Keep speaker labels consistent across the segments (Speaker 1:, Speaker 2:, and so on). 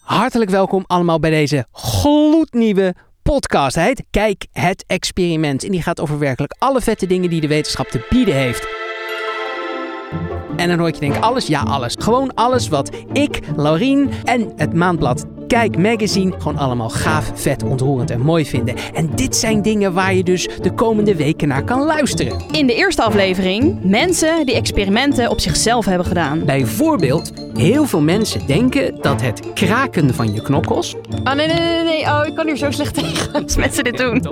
Speaker 1: Hartelijk welkom allemaal bij deze gloednieuwe podcast. Hij heet Kijk het experiment. En die gaat over werkelijk alle vette dingen die de wetenschap te bieden heeft. En dan hoor je denk ik alles, ja alles. Gewoon alles wat ik, Laurien en het Maandblad Kijk Magazine gewoon allemaal gaaf, vet, ontroerend en mooi vinden. En dit zijn dingen waar je dus de komende weken naar kan luisteren.
Speaker 2: In de eerste aflevering mensen die experimenten op zichzelf hebben gedaan.
Speaker 1: Bijvoorbeeld, heel veel mensen denken dat het kraken van je knokkels,
Speaker 2: Oh nee, nee, nee, nee. Oh, ik kan hier zo slecht tegen als mensen dit doen.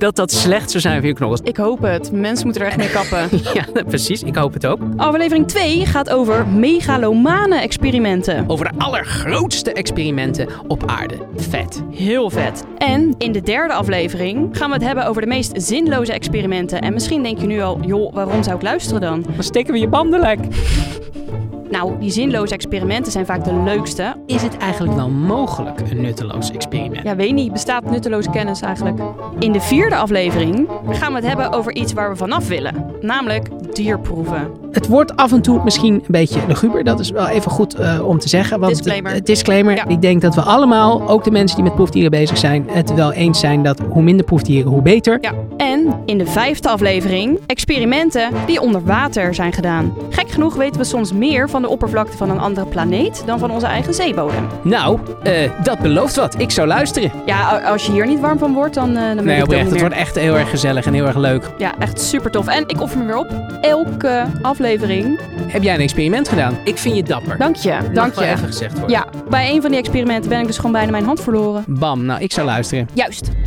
Speaker 1: dat dat slecht zou zijn voor je knokkels.
Speaker 2: Ik hoop het. Mensen moeten er echt mee kappen.
Speaker 1: Ja, precies. Ik hoop het ook.
Speaker 2: Aflevering 2 gaat over megalomane experimenten.
Speaker 1: Over de allergrootste experimenten op aarde. Vet.
Speaker 2: Heel vet. En in de derde aflevering gaan we het hebben over de meest zinloze experimenten. En misschien denk je nu al, joh, waarom zou ik luisteren dan?
Speaker 1: Dan steken we je banden lek.
Speaker 2: Nou, die zinloze experimenten zijn vaak de leukste.
Speaker 1: Is het eigenlijk wel mogelijk een nutteloos experiment?
Speaker 2: Ja, weet niet, bestaat nutteloze kennis eigenlijk? In de vierde aflevering gaan we het hebben over iets waar we vanaf willen. Namelijk dierproeven.
Speaker 1: Het wordt af en toe misschien een beetje luguber. Dat is wel even goed eh, om te zeggen. Want
Speaker 2: Disclaimer.
Speaker 1: eh, disclaimer.
Speaker 2: Ja.
Speaker 1: Ik denk dat we allemaal, ook de mensen die met proefdieren bezig zijn, het wel eens zijn dat hoe minder proefdieren, hoe beter.
Speaker 2: Ja. En in de vijfde aflevering experimenten die onder water zijn gedaan. Gek genoeg weten we soms meer van de oppervlakte van een andere planeet dan van onze eigen zeebodem.
Speaker 1: Nou, eh, dat belooft wat. Ik zou luisteren.
Speaker 2: Ja, a- als je hier niet warm van wordt, dan, eh, dan weet
Speaker 1: Nee,
Speaker 2: ik het ook
Speaker 1: oprecht. Het
Speaker 2: niet meer.
Speaker 1: wordt echt heel erg gezellig en heel erg leuk.
Speaker 2: Ja, echt super tof. En ik offer me weer op. Elke aflevering.
Speaker 1: Heb jij een experiment gedaan? Ik vind je dapper.
Speaker 2: Dank je,
Speaker 1: Mag
Speaker 2: dank
Speaker 1: wel
Speaker 2: je.
Speaker 1: even gezegd worden.
Speaker 2: Ja, bij een van die experimenten ben ik dus gewoon bijna mijn hand verloren.
Speaker 1: Bam, nou ik zou luisteren.
Speaker 2: Juist.